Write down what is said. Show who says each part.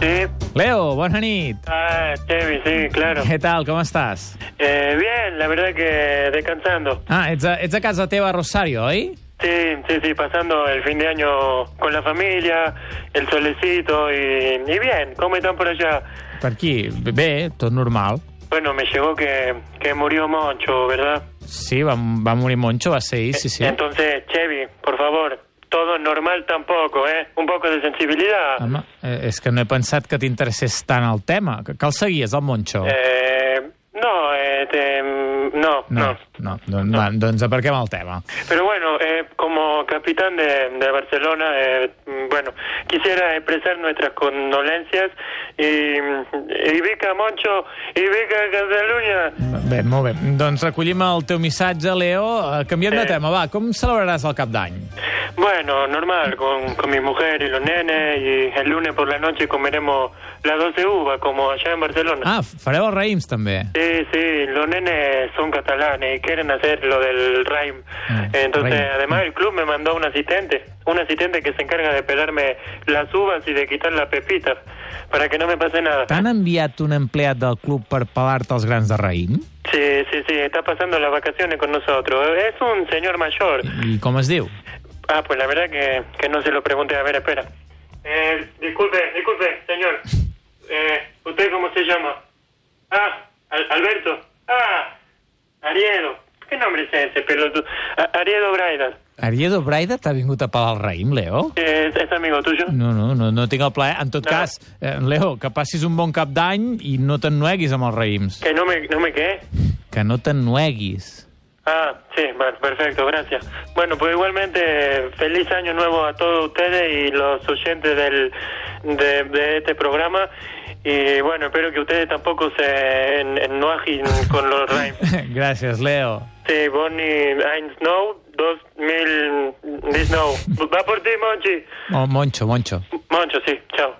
Speaker 1: Sí,
Speaker 2: Leo, bona nit.
Speaker 1: ah, Chevy, sí, claro.
Speaker 2: Què tal, com estàs?
Speaker 1: Eh, bien, la verdad que descansando.
Speaker 2: Ah, ets a, ets a casa teva a Rosario, oi?
Speaker 1: Sí, sí, sí, pasando el fin de año con la familia, el solecito y, y bien, ¿cómo están por allá?
Speaker 2: Per aquí, bé, tot normal.
Speaker 1: Bueno, me llegó que, que murió Moncho, ¿verdad?
Speaker 2: Sí, va, va morir Moncho, va ser ahir, sí, sí.
Speaker 1: Entonces, Chevy, por favor, todo normal tampoco, ¿eh? Un poco de sensibilidad.
Speaker 2: Home, eh, és que no he pensat que t'interessés tant el tema. Que, que el seguies, el Moncho?
Speaker 1: Eh, no, este, no,
Speaker 2: no,
Speaker 1: no.
Speaker 2: no, doncs, va, doncs aparquem el tema.
Speaker 1: Pero bueno, eh, como capitán de, de Barcelona, eh, mm, bueno, quisiera expresar nuestras condolencias y, y Vica Moncho y Vica Cataluña.
Speaker 2: Bé, molt bé. Doncs recollim el teu missatge, Leo. Eh, Canviem de
Speaker 1: Eh.
Speaker 2: tema, va. Com celebraràs el cap d'any?
Speaker 1: Bueno, normal, con, con mi mujer y los nenes y el lunes por la noche comeremos las 12 uvas como allá en Barcelona.
Speaker 2: Ah, fareu els raïms, també.
Speaker 1: Sí, sí, los nenes son catalanes y quieren hacer lo del RAIM.
Speaker 2: Ah,
Speaker 1: Entonces,
Speaker 2: Raim.
Speaker 1: además, el club me mandó un asistente, un asistente que se encarga de pelarme las uvas y de quitar las pepitas, para que no me pase nada.
Speaker 2: T'han enviat un empleat del club per pelar-te els grans de raïm?
Speaker 1: Sí, sí, sí, está pasando las vacaciones con nosotros. Es un señor mayor.
Speaker 2: I, i com es diu?
Speaker 1: Ah, pues la verdad que, que no se lo pregunté. A ver, espera. Eh, disculpe, disculpe, señor. Eh, ¿Usted cómo se llama? Ah, Al- Alberto. Ah, Ariedo. ¿Qué nombre es ese, pelotudo? A- Ariedo Braidas.
Speaker 2: Ariedo Braida t'ha vingut a pelar el raïm, Leo?
Speaker 1: Eh, ¿Es, es amigo tuyo?
Speaker 2: No, no, no, no tinc el plaer. En tot
Speaker 1: No.
Speaker 2: cas, eh, Leo, que passis un bon cap d'any i no t'ennueguis amb els raïms.
Speaker 1: Que no me, no me quedé.
Speaker 2: Que no t'ennueguis.
Speaker 1: Ah, sí, bueno, perfecto, gracias. Bueno, pues igualmente, feliz año nuevo a todos ustedes y los oyentes del, de, de este programa. Y bueno, espero que ustedes tampoco se en- enojen con los rhymes.
Speaker 2: Gràcies, Leo.
Speaker 1: Sí, Bonnie Ein Snow 2000 Disnow. Va por ti, Monchi.
Speaker 2: Oh, Moncho, Moncho.
Speaker 1: Moncho, sí, chao.